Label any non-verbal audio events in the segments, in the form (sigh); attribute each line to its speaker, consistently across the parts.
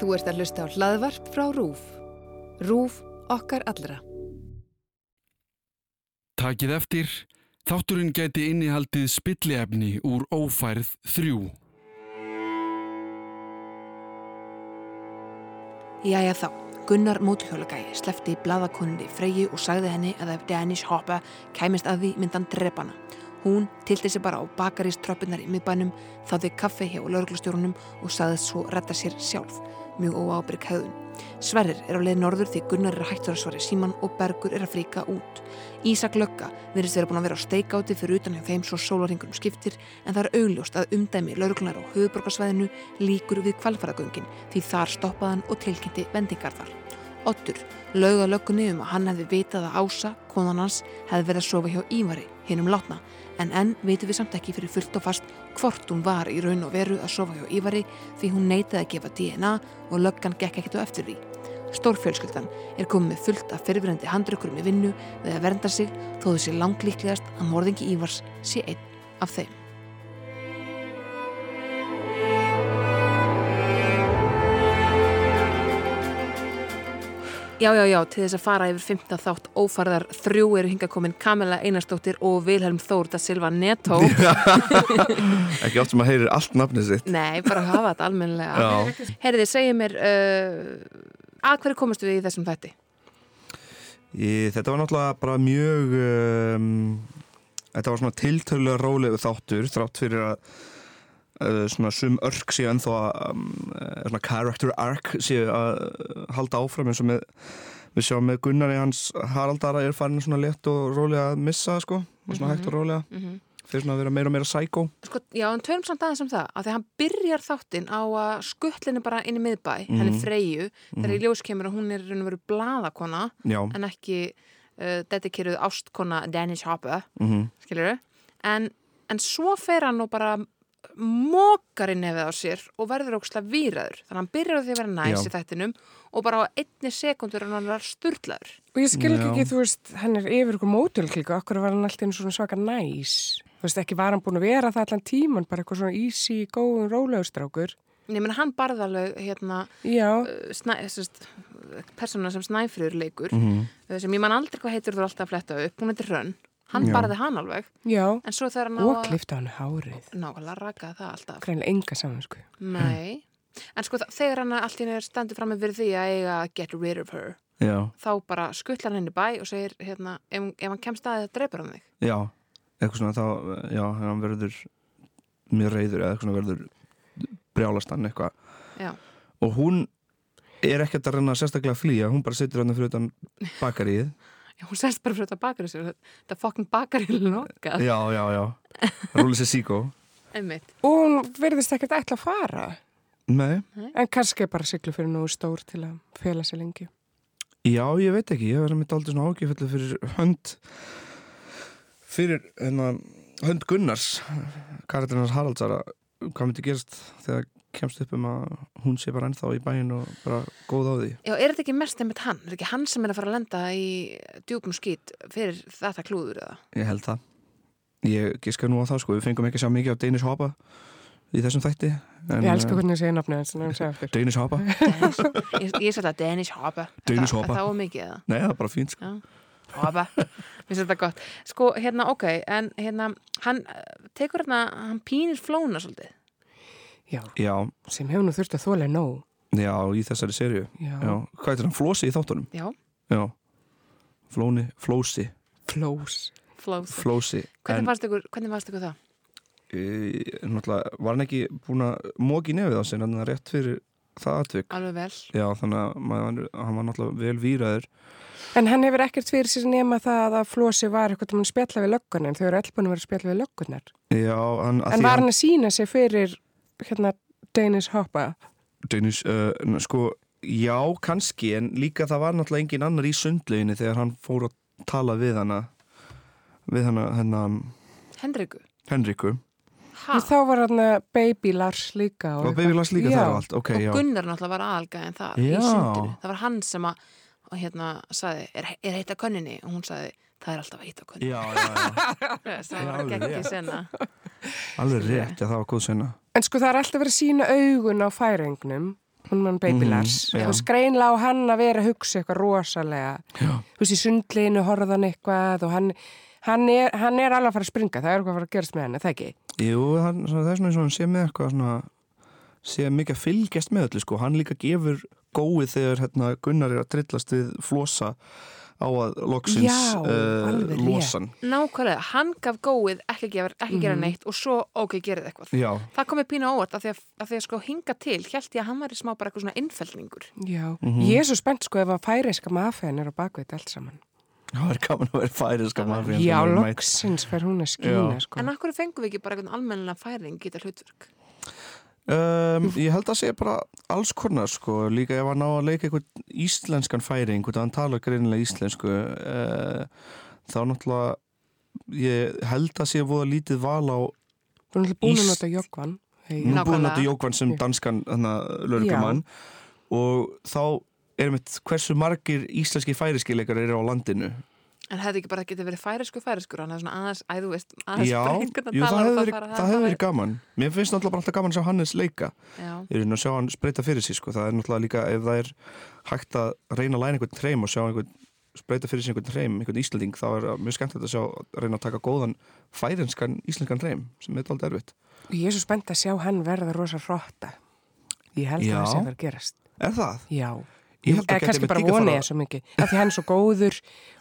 Speaker 1: Þú ert að hlusta á hlaðvarp frá RÚF. RÚF okkar allra.
Speaker 2: Takið eftir, þátturinn gæti innihaldið spilliefni úr ófærð þrjú.
Speaker 3: Jæja þá, Gunnar mótuhjólagæi slefti bladakonandi Freyju og sagði henni að ef Dennis Hoppa kæmist að því myndan drepana. Hún tilti sig bara á bakarýströppunar í miðbænum, þáði kaffi hjá lauruglustjórunum og sagði svo retta sér sjálf, mjög óábyrg höfðun. Sverrir er á leið norður því Gunnar er hættur að svara síman og Bergur er að fríka út. Ísak Lögga virðist vera búin að vera á steikáti fyrir utan hjá þeim svo sólarhingunum skiptir en það er augljóst að umdæmi lauruglunar á höfuborgarsvæðinu líkur við kvalfæragöngin því þar stoppaði hann og tilkynnti vendingarðar. Ottur lögða löggunni um að hann hefði vitað að Ása, konan hans, hefði verið að sofa hjá Ívari, hinum látna en enn veitum við samt ekki fyrir fullt og fast hvort hún var í raun og veru að sofa hjá Ívari því hún neytaði að gefa DNA og löggan gekk ekkert á eftir því. Stórfjölskyldan er komið með fullt af fyrirverandi handrökkurum í vinnu við að vernda sig þó þessi langlíklegast að morðingi Ívars sé einn af þeim. Já, já, já, til þess að fara yfir 15 þátt ófarðar þrjú eru hinga komin Kamila Einarstóttir og Vilhelm Þór da Silva Netto.
Speaker 4: (laughs) Ekki oft sem maður heyrir allt nafnið sitt
Speaker 3: Nei, bara hafa þetta almennilega.
Speaker 4: Já,
Speaker 3: Herðið, segið mér, uh, að hverju komast við í þessum þætti?
Speaker 4: ég, þetta var náttúrulega bara mjög um, Þetta var svona tiltölulega rólegu þáttur þrátt fyrir að uh, svona sum örk séu ennþá að um, eh, svona character arc séu að uh, halda áfram eins og með við sjáum með Gunnari hans Haraldara er farin svona létt og rólega að missa sko, og svona hægt og rólega fyrir svona að vera meira og meira psycho
Speaker 3: sko, já, en tölum samt aðeins um það að því að hann byrjar þáttinn á að skuttlinni bara inn í miðbæ, mm. henni Freyju þegar í ljós kemur að hún er í raun og veru blaðakona
Speaker 4: Já,
Speaker 3: en ekki uh, dedikeruð ástkona Dennis Hopper,
Speaker 4: mm
Speaker 3: skilur en, en svo fer hann og bara mókar í nefið á sér og verður ókslega výraður þannig að hann byrjar á því að vera næs
Speaker 4: Já.
Speaker 3: í þættinum og bara á einni sekundur en hann er sturlaður
Speaker 5: Og ég skil ekki
Speaker 4: Já.
Speaker 5: ekki, þú veist, hann er yfir ykkur mótulklíku, okkur var hann alltaf einu svona svaka næs. Þú veist, ekki var hann búin að vera það allan tíman, bara eitthvað svona easy, góðun, rólegur strákur.
Speaker 3: nefnir hann barðalög hérna
Speaker 5: Já,
Speaker 3: snæ, sest, persóna sem Snæfrur leikur
Speaker 4: Mhm.
Speaker 3: uh, sem ég man aldrei hvað heitur þú er alltaf að fletta upp, hún heitir Hrönn hann
Speaker 4: Já.
Speaker 3: barði hann alveg
Speaker 5: já,
Speaker 3: en svo þegar hann á
Speaker 5: og
Speaker 3: að-
Speaker 5: klifta hann hárið.
Speaker 3: nákvæmlega rakaði það alltaf
Speaker 5: Greinlega enga saman, sko.
Speaker 3: Nei. en sko þa- þegar hann allt í nefnir stendur fram með því að eiga að get rid of her
Speaker 4: já,
Speaker 3: þá bara skuttlar hann henni í bæ og segir hérna, ef, hún- ef hann kemst að það dreipur hann þig
Speaker 4: já eitthvað svona þá, eh, já, hann verður mjög reyður eða eitthvað svona verður brjálast hann eitthvað
Speaker 3: Já.
Speaker 4: og hún er ekkert að reyna sérstaklega að flýja hún bara situr hann fyrir utan bakaríð
Speaker 3: Já, hún sest bara fyrir þetta bakari sér þetta fokkin bakari (laughs) lokað
Speaker 4: já, já, já, rúli sér síkó
Speaker 3: einmitt,
Speaker 5: Og hún verðist ekkert ætla að fara,
Speaker 4: nei,
Speaker 5: en kannski er bara siglu fyrir nógu stór til að fela sig lengi.
Speaker 4: já, ég veit ekki ég verður mitt aldrei svona ágiföllu fyrir hönd fyrir hérna, hönd Gunnars karakterinars Haraldsara hvað myndi gerast þegar kemst upp um að hún sé bara ennþá í bæin og bara góð á því
Speaker 3: já, er þetta ekki mest einmitt hann er ekki hann sem er að fara að lenda í djúpum skýt fyrir þetta klúður eða
Speaker 4: Ég held það Ég giska nú á það sko, við fengum ekki að sjá mikið af Danish Hoppa í þessum þætti en, eh,
Speaker 5: Ég elska hvernig ég segja nafnið hans, en hann segja aftur.
Speaker 4: Danish Hoppa,
Speaker 3: Dennis, (laughs) ég, ég sætla Dennis Hoppa
Speaker 4: Dennis
Speaker 3: Það-
Speaker 4: Hopper.
Speaker 3: Það var mikið það,
Speaker 4: nei það er bara fínt sko.
Speaker 3: Hoppa (laughs) Mér finnst þetta gott Sko, hérna, ok, en hérna Hann eh, tekur hérna, hann pínir flóna svolítið
Speaker 5: Já,
Speaker 4: Já,
Speaker 5: sem hefur nú þurft að þóla nóg.
Speaker 4: já, í þessari serju
Speaker 5: Já,
Speaker 4: Já, hvað er hann, Flósi í þáttunum?
Speaker 3: Já,
Speaker 4: Já, Flóni, Flósi
Speaker 5: flós.
Speaker 3: flóð
Speaker 4: Flósi,
Speaker 3: Hvernig
Speaker 4: en
Speaker 3: fannst ykkur, hvernig fannst ykkur það?
Speaker 4: e, náttúrulega var hann ekki búin að móki nefið á sig, en það er rétt fyrir það atvik
Speaker 3: Alveg vel
Speaker 4: Já, þannig að maður, hann var náttúrulega vel výraður
Speaker 5: En hann hefur ekkert fyrir sér nema það að Flósi var eitthvað um að spjalla við löggunar, en þau eru öll búin að vera að spjalla við löggunar.
Speaker 4: Já, hann, að
Speaker 5: En
Speaker 4: því
Speaker 5: var
Speaker 4: hann-
Speaker 5: hann að sína sig fyrir hérna Danish Hoppa?
Speaker 4: Danish, uh, n- sko, já, kannski, en líka það var náttúrulega engin annar í sundleginni þegar hann fór að tala við hana, við hana, hennan,
Speaker 3: Henriku
Speaker 4: Henriku.
Speaker 3: Ha,
Speaker 5: Þá var hann að Baby Lars líka.
Speaker 4: Og Baby Lars líka
Speaker 5: já.
Speaker 4: þar og allt, ok,
Speaker 3: og
Speaker 4: já.
Speaker 3: Gunnar náttúrulega var aðalga en það
Speaker 4: Já.
Speaker 3: í sundinu Það var hann sem að, og hérna, sagði Er, er heitt að könninni? Og hún sagði, það er alltaf heitt að könninni
Speaker 4: Já, já, já,
Speaker 3: (laughs) Það var
Speaker 4: alveg
Speaker 3: að gegja
Speaker 4: rétt.
Speaker 3: sena
Speaker 4: alveg rétt, já, það var góð sena.
Speaker 5: En sko það er alltaf verið að sína augun á færingnum Batman Baby
Speaker 4: Mhm,
Speaker 5: Lars
Speaker 4: já.
Speaker 5: það var skreinla á hann að vera að hugsa eitthvað rosalega
Speaker 4: Já.
Speaker 5: þú veist í sundlinu horfðan eitthvað og hann, hann, er, hann er alveg að fara að springa það er eitthvað að fara að gerast með hann, er það ekki
Speaker 4: Jú, hann, svona, það er svona eins og hann sé með eitthvað svona, sé mikið að fylgjast með öllu sko, hann líka gefur góið þegar hérna, Gunnar er að trillast við flosa á að loksins eh,
Speaker 5: Já, alveg rétt.
Speaker 4: losan.
Speaker 3: Nákvæmlega, hann gaf góið, ekki, gefur, ekki gera neitt og svo ok, gerið eitthvað.
Speaker 4: Mhm. Já,
Speaker 3: Það komið pínu á óvart af því að, af því að sko hinga til, held ég að hann væri smá bara eitthvað svona innfældningur.
Speaker 5: Já,
Speaker 4: Mhm.
Speaker 5: ég er svo spennt sko ef að færiska mafiðan er á bakvið þetta allt saman
Speaker 4: það er gaman að vera færiska mafían. sem
Speaker 5: Já,
Speaker 4: er mætt.
Speaker 5: loksins fer hún að skýna
Speaker 4: Já.
Speaker 5: sko
Speaker 3: En akkur fengum við ekki bara eitthvað almennilega færing geta hlutverk?
Speaker 4: Um, ég held að segja bara alls konar sko, líka ef hann á að leika einhvern íslenskan færing, hvernig hann talar greinilega íslensku uh, þá náttúrulega ég held að sé voða lítið val á
Speaker 5: Hún er búin að
Speaker 4: Ís-
Speaker 5: nota joggvan
Speaker 4: hún er búin
Speaker 3: Nákvæmlega.
Speaker 4: að þetta jókvann sem danskan lörgumann og þá er mitt hversu margir íslenski færiskileikar eru á landinu
Speaker 3: En hefði ekki bara getið verið færisku færiskur, hann hefði svona aðeins, æ, þú veist, aðeins
Speaker 4: Já,
Speaker 3: bara
Speaker 4: jú,
Speaker 3: einhvern að
Speaker 4: það
Speaker 3: tala um
Speaker 4: hefur verið, það hefur verið gaman Mér finnst náttúrulega bara alltaf gaman að sjá Hannes leika
Speaker 3: Já,
Speaker 4: Ég er inn að sjá hann spreita fyrir sig sko. Það er náttúrulega líka ef það er hægt að reyna að læna einhvern treym og sjá einhvern spreita fyrir sig einhvern treym, einhvern íslending þá er mjög skemmt að sjá að reyna að taka góðan færenskan íslenskan treym sem er alltaf erfitt
Speaker 5: Og ég er svo spennt að sjá hann verða rosa hrotta Ég held
Speaker 4: Já.
Speaker 5: að það sé að vera að gerast
Speaker 4: Er það?
Speaker 5: Já,
Speaker 4: Ég held að
Speaker 5: eða
Speaker 4: gæti
Speaker 5: kannski
Speaker 4: einmitt
Speaker 5: bara
Speaker 4: líka
Speaker 5: vonið
Speaker 4: fara-
Speaker 5: ég svo mikið af því hann er svo góður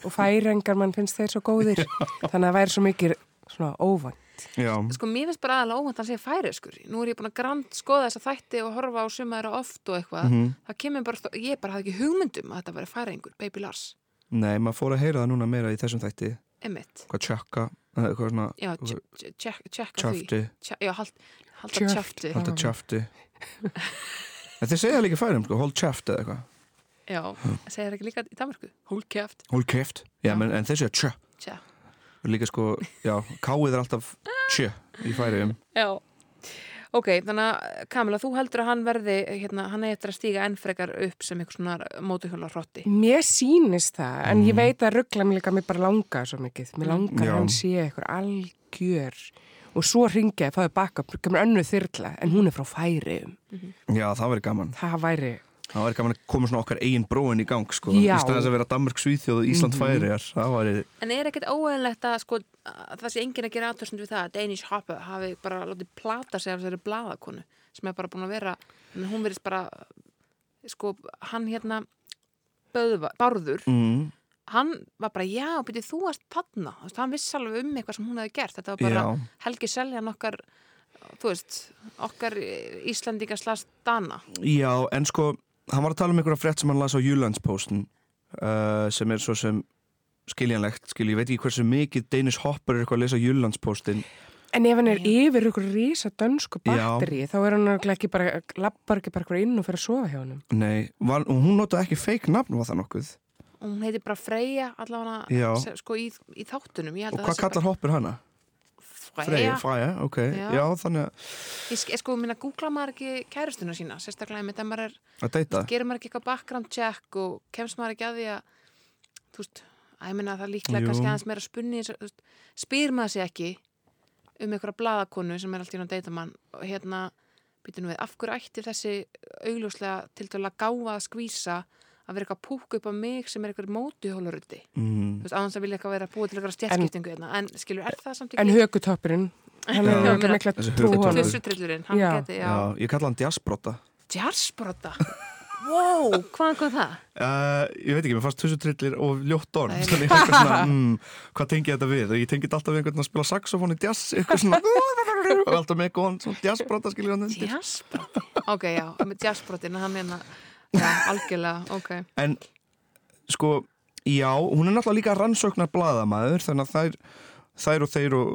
Speaker 5: og færengar mann finnst þeir svo
Speaker 4: (laughs)
Speaker 5: góðir þannig að það væri svo mikið svona óvann
Speaker 4: Já,
Speaker 3: sko mér finnst bara aðalega óvænt að hann segja færiskur Nú er ég búin að grand skoða þessa þætti og horfa á suma þeirra oft og eitthvað Það kemur bara, stó- ég bara hafði ekki hugmyndum að þetta væri færingur, Baby Lars,
Speaker 4: nei, maður fór að heyra það núna meira í þessum þætti
Speaker 3: emmitt
Speaker 4: hvað tjökka, eh, eitthvað svona
Speaker 3: Já, tjekka því
Speaker 4: tjöfti,
Speaker 3: Tja- Já, hald, halda
Speaker 5: Tjöft.
Speaker 3: tjafti
Speaker 4: halda tjöfti En þeir segja það líka færum, sko, hold tjöft eða eitthvað
Speaker 3: Já, segir ekki líka í Danmarku Hól kjaft,
Speaker 4: Hold keft, já,
Speaker 3: Já.
Speaker 4: menn, en þeir segja tjö
Speaker 3: tja
Speaker 4: Líka sko, já, káið er alltaf tjö í færum
Speaker 3: Já Ok, þannig að Kamila, þú heldur að hann verði hérna, hann eigi eftir að stíga enn frekar upp sem eitthvað svona mótuhjóla hrotti
Speaker 5: Mér sýnist það, en ég veit að ruggla mér líka, mér bara langar svo mikið. Mér langar
Speaker 4: Mhm. Já.
Speaker 5: að hann sé eitthvað algjör og svo ringja ég, fáið baka, kemur önnu þyrla, en hún er frá færiðum.
Speaker 4: Já, það verður gaman
Speaker 5: Það væri,
Speaker 4: Það væri gaman að koma svona okkar eigin bróin í gang, sko
Speaker 5: Já.
Speaker 4: Í staðins að vera Danmörk Svíþjóð og
Speaker 3: Mhm.
Speaker 4: Ísland færiðar Það væri,
Speaker 3: En er ekkert óæðilegt að sko, að það sé enginn að gera aðtörsund við það að Danish Hopper hafi bara látið plata sig af þessari blaðakonu sem er bara búin að vera en hún verðist bara sko, hann hérna Böðva, Bárður,
Speaker 4: mm,
Speaker 3: hann var bara já, byrju þú varst þarna Þú veist, hann vissi alveg um eitthvað sem hún hefði gert þetta var bara
Speaker 4: já
Speaker 3: Helgi Seljan okkar þú veist, okkar Íslandinga slast Dana
Speaker 4: Já, en sko, hann var að tala um einhverja frétt sem hann las á Júlandsposten uh, sem er svo sem skiljanlegt, skil, ég veit ekki hversu mikið Danish Hopper er eitthvað að lesa á Júlandsposten
Speaker 5: en ef hann er
Speaker 3: Já.
Speaker 5: yfir ykkur risa dönsku
Speaker 4: Já.
Speaker 5: batteri, þá er hann örugglega ekki bara, lappar ekki bara ykkur inn og fyrir að sofa hjá hann.
Speaker 4: Nei, var, og hún notaði ekki fake nafn var það nokkuð
Speaker 3: og hún heiti bara Freyja
Speaker 4: Já.
Speaker 3: allavega sem- sko í, í þáttunum Ég held
Speaker 4: Og
Speaker 3: að
Speaker 4: hvað
Speaker 3: það sé
Speaker 4: kallar Hopper hana?
Speaker 3: bara
Speaker 4: Freyja,
Speaker 3: Freyja,
Speaker 4: Freyja, ok Já,
Speaker 3: Já.
Speaker 4: þannig að-
Speaker 3: Ég, sk- sko minna googla maður ekki kæristuna sína sérstaklega með það maður er,
Speaker 4: að deyta
Speaker 3: gerir maður ekki eitthvað background check og kemst maður ekki að því að þú veist, að ég minna það er líklega
Speaker 4: Jú.
Speaker 3: kannski aðeins meira spunni eins og, þú veist, spyr maður sér ekki um einhverja bladakonu sem er alltaf inn á deitamann og hérna, býtum við, af hverju ætti þessi augljóslega til dæla gáfa að skvísa að vera eitthvað að púka upp á mig sem er eitthvað mótuhólarutti þú
Speaker 4: mm.
Speaker 3: veist, aðeins að vilja eitthvað vera að búa til eitthvað stjætskiptingu en, en skilur, er það samt
Speaker 5: En
Speaker 3: ekki
Speaker 5: högutoppurinn, hann er
Speaker 4: Já.
Speaker 5: örugglega mikla
Speaker 4: Þessi
Speaker 5: trú á
Speaker 4: hökutoppur.
Speaker 5: hann.
Speaker 3: Tvissutrillurinn, hann
Speaker 5: Já.
Speaker 3: geti,
Speaker 4: já.
Speaker 3: já
Speaker 4: ég kalla hann Jazzbrota
Speaker 3: Jarsbrota, wow, hvaðan kom það?
Speaker 4: uh, Ég veit ekki, mér fannst þessu trillir og ljótt orð
Speaker 3: Nei.
Speaker 4: Þannig eitthvað svona, mm, hvað tengi ég þetta við? Og ég tengi þetta alltaf við einhvern að spila saxofón í jazz Eitthvað svona Og alltaf með góðan svona jazzbrota skilur hann undir
Speaker 3: Jazzbroti? Ok, já, jazzbrotin, hann meina, já, algjörlega, ok.
Speaker 4: En sko, já, hún er náttúrulega líka rannsóknar bladamaður þannig að þær, þær og þeir og,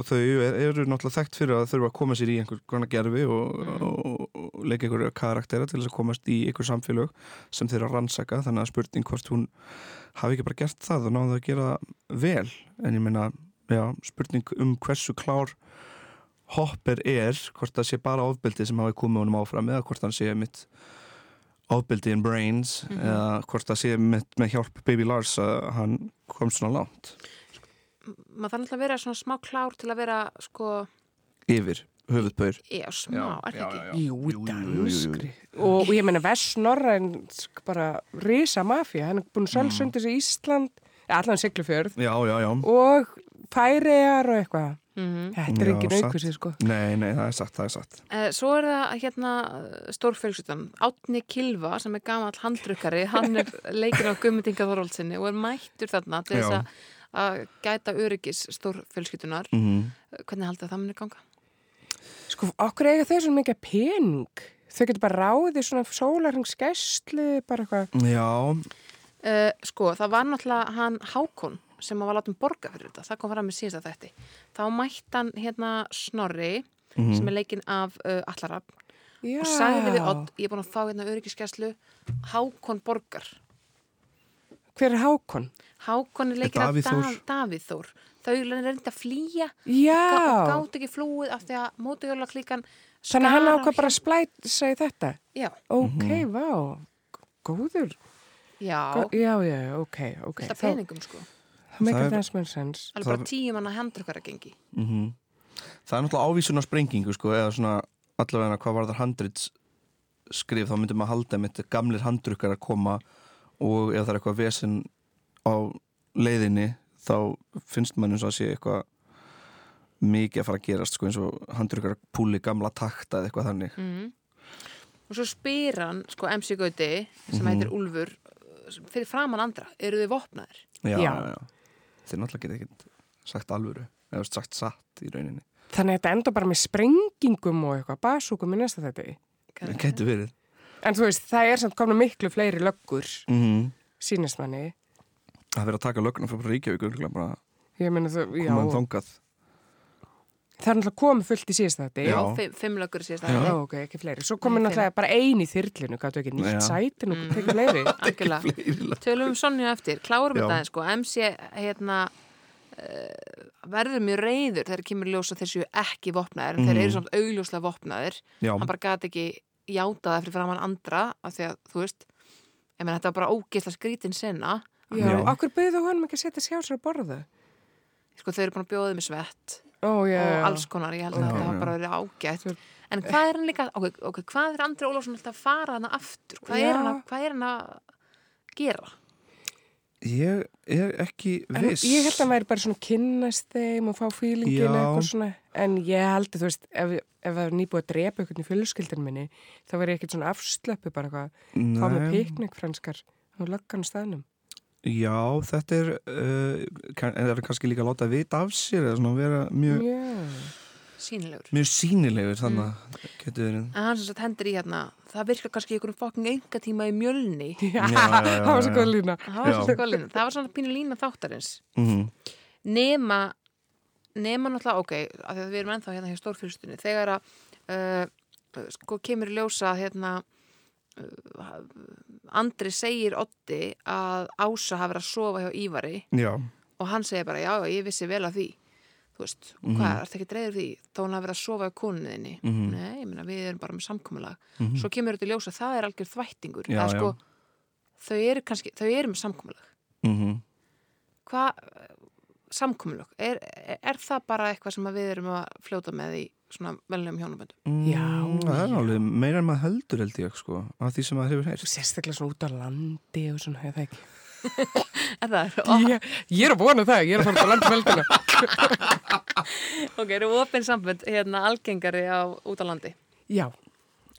Speaker 4: og þau e-, eru náttúrulega þekkt fyrir að þurfa að koma sér í einhver grana gerfi og, og, og leika einhverja karaktera til þess að komast í einhver samfélög sem þeir eru að rannsaka þannig að spurning hvort hún hafi ekki bara gert það og náðu að gera það vel en ég meina, já, spurning um hversu klár Hopper er, hvort það sé bara ofbeldi sem hafi komið honum áfram eða hvort hann sé mitt ofbeldi in brains eða hvort það sé með, með hjálp Baby Lars að hann kom svona langt
Speaker 3: Maður þarf alltaf að vera svona smá klár til að vera, sko,
Speaker 4: yfir höfuðpaur
Speaker 3: Já, smá, er það ekki?
Speaker 5: Jú,
Speaker 4: jú, jú, jú, jú.
Speaker 5: danskri. Og, og ég meina Vestnorræn, sk- bara risa mafja, hann er búin að sölsundi þessi Ísland, eða allan siglufjörð
Speaker 4: Já, já, já
Speaker 5: og Færiðar og eitthvað.
Speaker 3: Mhm.
Speaker 5: Þetta er
Speaker 4: Já,
Speaker 5: engin
Speaker 4: satt.
Speaker 5: aukvisi, sko.
Speaker 4: Nei, nei, það er satt, það er satt
Speaker 3: Eh, Svo er það hérna stórfjölsuttan, Átni Kilva sem er gamall handrukkari, hann er leikinn á Guðmundinga Þorvaldsinni og er mættur þarna til þess
Speaker 4: Já.
Speaker 3: að- að gæta öryggis stórfjölskytunar.
Speaker 4: mm
Speaker 3: Hvernig haldið það munir ganga?
Speaker 5: Sko, okkur eiga þau svona mikið pening. Þau getur bara ráðið svona sólarhengsgæslu, bara eitthvað.
Speaker 4: Já,
Speaker 3: Uh, sko, það var náttúrulega hann Hákon sem var látið borga fyrir þetta, það kom fram með síðasta þætti. Þá mætti hann hérna Snorri sem er leikinn af uh, Allarab
Speaker 5: Já.
Speaker 3: og sagði við Odd, ég er búin að fá hérna öryggiskeslu, Hákon borgar.
Speaker 5: Hver er Hákon?
Speaker 3: Hákon er leikinn af Davíð
Speaker 4: Davíð Þór.
Speaker 3: Þór. Davíð Þór. Þau reyndi að flýja ga- og
Speaker 5: Já.
Speaker 3: gátt ekki flúið af því að mótuhjóla klíkan
Speaker 5: Þannig að hann ákvað bara að splæsa í þetta.
Speaker 3: Já,
Speaker 5: Ok,
Speaker 4: Mhm.
Speaker 5: vá. Góður.
Speaker 3: já,
Speaker 5: Gó- Já, já, já, ok, ok.
Speaker 3: þetta
Speaker 5: Þá-
Speaker 3: peningum sko.
Speaker 5: Það
Speaker 4: Það
Speaker 5: meikar
Speaker 4: er-
Speaker 5: það smönd sens.
Speaker 3: Alveg bara tíum hann að handrukkara gengi.
Speaker 4: Mhm. það er náttúrulega ávísun á sprengingu sko, eða svona allavega hvað var þar handrits skrif þá myndum að halda mitt gamlir handrukkar að koma og ef það er eitthvað vesen á leiðinni þá finnst mann eins og að sé eitthvað mikið að fara að gerast sko, eins og handrukkar púli gamla takta eða eitthvað þannig
Speaker 5: Mm.
Speaker 3: Og svo spyr hann, sko, MC Gauti,
Speaker 4: Mhm.
Speaker 3: sem heitir Úlfur, sem- fyrir framann andra, eru þið vopnaðir?
Speaker 4: já,
Speaker 5: Já.
Speaker 4: já. Já, þeir náttúrulega geta ekki sagt alvöru eða sagt satt í rauninni
Speaker 5: Þannig að þetta enda bara með sprengingum og eitthvað, basúkum í næsta þetta.
Speaker 4: það getur verið
Speaker 5: En þú veist, það er samt komna miklu fleiri löggur,
Speaker 4: mm
Speaker 5: Mhm. sínist manni.
Speaker 4: að vera að taka lögna frá Reykjavík örugglega bara
Speaker 5: Ég meina þú, já,
Speaker 4: koma þangað
Speaker 5: það er náttúrulega komið fullt í síðast þetta.
Speaker 4: Já.
Speaker 3: Já, fimm, fimm lögur síðast
Speaker 5: Já,
Speaker 3: aðeins.
Speaker 5: ok, ekki fleiri. Svo komið
Speaker 3: Nei,
Speaker 5: náttúrulega bara ein í þyrlinu, gætu ekki
Speaker 4: Já.
Speaker 5: nýtt sætin
Speaker 3: Mm.
Speaker 5: og tekið fleiri.
Speaker 4: (laughs)
Speaker 3: Algjörlega.
Speaker 4: Fleiri lög.
Speaker 3: Tölum um Sonju eftir, klárum
Speaker 4: Já.
Speaker 3: þetta aðeins, sko. MC, hérna, uh, verður mjög reyður þegar kemur ljósa þessu ekki vopnaðir, en þeir
Speaker 4: Mhm.
Speaker 3: eru samt augljóslega vopnaðir.
Speaker 4: já,
Speaker 3: Hann bara gati ekki játað það fyrir framann andra, af því að, þú veist, ég meina, þetta var bara ógeðsla skrítin senna.
Speaker 5: Já,
Speaker 4: Já.
Speaker 5: okkur byrðu honum ekki að setja sér á sér að borða.
Speaker 3: Sko, þau eru búin að bjóða þeim í svett.
Speaker 5: Ó, já, já.
Speaker 3: og alls konar, ég held að
Speaker 4: Já,
Speaker 3: þetta hafa
Speaker 4: já.
Speaker 3: bara verið ágætt en hvað er hann líka, ok, ok, hvað er Andri Ólafsson alltaf að fara hana aftur hvað
Speaker 5: Já.
Speaker 3: er, hann að, hvað er hann að gera
Speaker 4: Ég er ekki
Speaker 5: En
Speaker 4: viss.
Speaker 5: Ég held að maður bara svona kynnast þeim og fá
Speaker 4: Já.
Speaker 5: fílingin eitthvað svona. En ég held að þú veist, ef, ef það er nýbúið að drepa einhvern í fjölskyldin minni, þá verður ég ekkert svona afslöppu bara eitthvað. Fá með
Speaker 4: Nei.
Speaker 5: piknik franskar og löggan á staðnum.
Speaker 4: Já, þetta er, uh, kann, en það er kannski líka að láta vita af sér eða svona vera mjög,
Speaker 5: Já.
Speaker 3: sínilegur,
Speaker 4: mjög sínilegur þannig að
Speaker 5: Mm.
Speaker 4: getur verið.
Speaker 3: en hann sem sagt hendur í hérna það virkar kannski í einhverjum fokking engatíma í mjölni
Speaker 5: Já,
Speaker 4: já, já,
Speaker 5: það var svo
Speaker 4: já.
Speaker 5: góð lína.
Speaker 3: það var
Speaker 4: Já.
Speaker 3: svona góð lína, það var svona pínu lína þáttarins
Speaker 4: Mm
Speaker 3: nema nema náttúrulega, ok, af því að við erum ennþá hérna hjá stórfyrstunni, þegar að uh, sko kemur í ljósa að, hérna uh, Andri segir Otti að Ása hafi verið að sofa hjá Ívari
Speaker 4: Já,
Speaker 3: og hann segir bara, já, já, ég vissi vel af því þú veist, og hvað, er þetta ekki dreður því þá hann hafi verið að sofa hjá konuðinni
Speaker 4: Mhm.
Speaker 3: nei, ég meina, við erum bara með samkomulag
Speaker 4: Mhm.
Speaker 3: svo kemur þetta í ljósa, það er algjör þvættingur
Speaker 4: Já,
Speaker 3: það er
Speaker 4: já.
Speaker 3: sko, þau eru kannski þau eru með samkomulag
Speaker 4: mm
Speaker 3: hvað samkomulög, er, er það bara eitthvað sem að við erum að fljóta með í svona velnum hjónaböndum?
Speaker 5: Já,
Speaker 4: Mm, það er
Speaker 5: já.
Speaker 4: alveg meira en maður heldur held ég sko, af því sem maður hefur heyrst.
Speaker 5: Sérstaklega svona út á landi og svona, hefði það ekki.
Speaker 3: Er það? (laughs)
Speaker 5: Ég, ég er að vona það, ég er að fara út á landmeldina.
Speaker 3: Ok, eru ofinn sambönd hérna algengari á út á landi?
Speaker 5: (laughs) Já,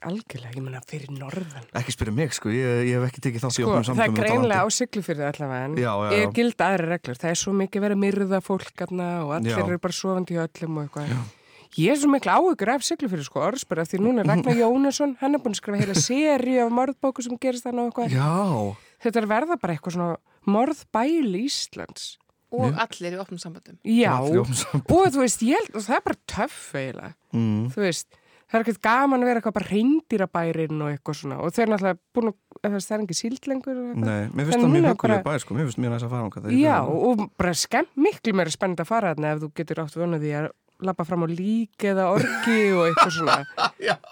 Speaker 5: algjörlega, ég menna fyrir norðan.
Speaker 4: Ekki spyrja mig sko, ég, ég um hef ekki tekið þátt í
Speaker 5: Sko,
Speaker 4: opnum
Speaker 5: það er
Speaker 4: samtöfum.
Speaker 5: greinlega á syklufyrði allavega en
Speaker 4: Já, já, já.
Speaker 5: er gild aðri reglur. Það er svo mikið verið að myrða fólk aðna og allir
Speaker 4: Já.
Speaker 5: eru bara sofandi í öllum og eitthvað. Ég er svo mikil áhugur af syklufyrði sko orðsbara því núna
Speaker 4: (laughs)
Speaker 5: er Ragnar Jónasson, hann er búin að skrifa heila séri af morðbóku sem gerist þannig og eitthvað.
Speaker 4: Já,
Speaker 5: Þetta er að verða bara eitthvað svona morðbæli Íslands.
Speaker 3: Og allir í opnum samböndum.
Speaker 5: Já,
Speaker 4: Allir í opnum samböndum.
Speaker 5: og þú veist, ég held, og það er bara töff eiginlega.
Speaker 4: mm.
Speaker 5: Þú veist, það er ekkert gaman að vera eitthvað bara reyndýrabærin og eitthvað svona og þau er náttúrulega búin að, þú veist, það er ekki síld lengur og eitthvað.
Speaker 4: nei, mér
Speaker 5: En
Speaker 4: finnst það mjög
Speaker 5: núna
Speaker 4: högulega
Speaker 5: bara-
Speaker 4: bæ sko, mér finnst mjög næst að fara ánga.
Speaker 5: Já, og bara skemm, miklu meira spennend að fara þarna ef þú getur átt vonað því að lappa fram á lík eða orgi og eitthvað
Speaker 4: (laughs)
Speaker 5: svona.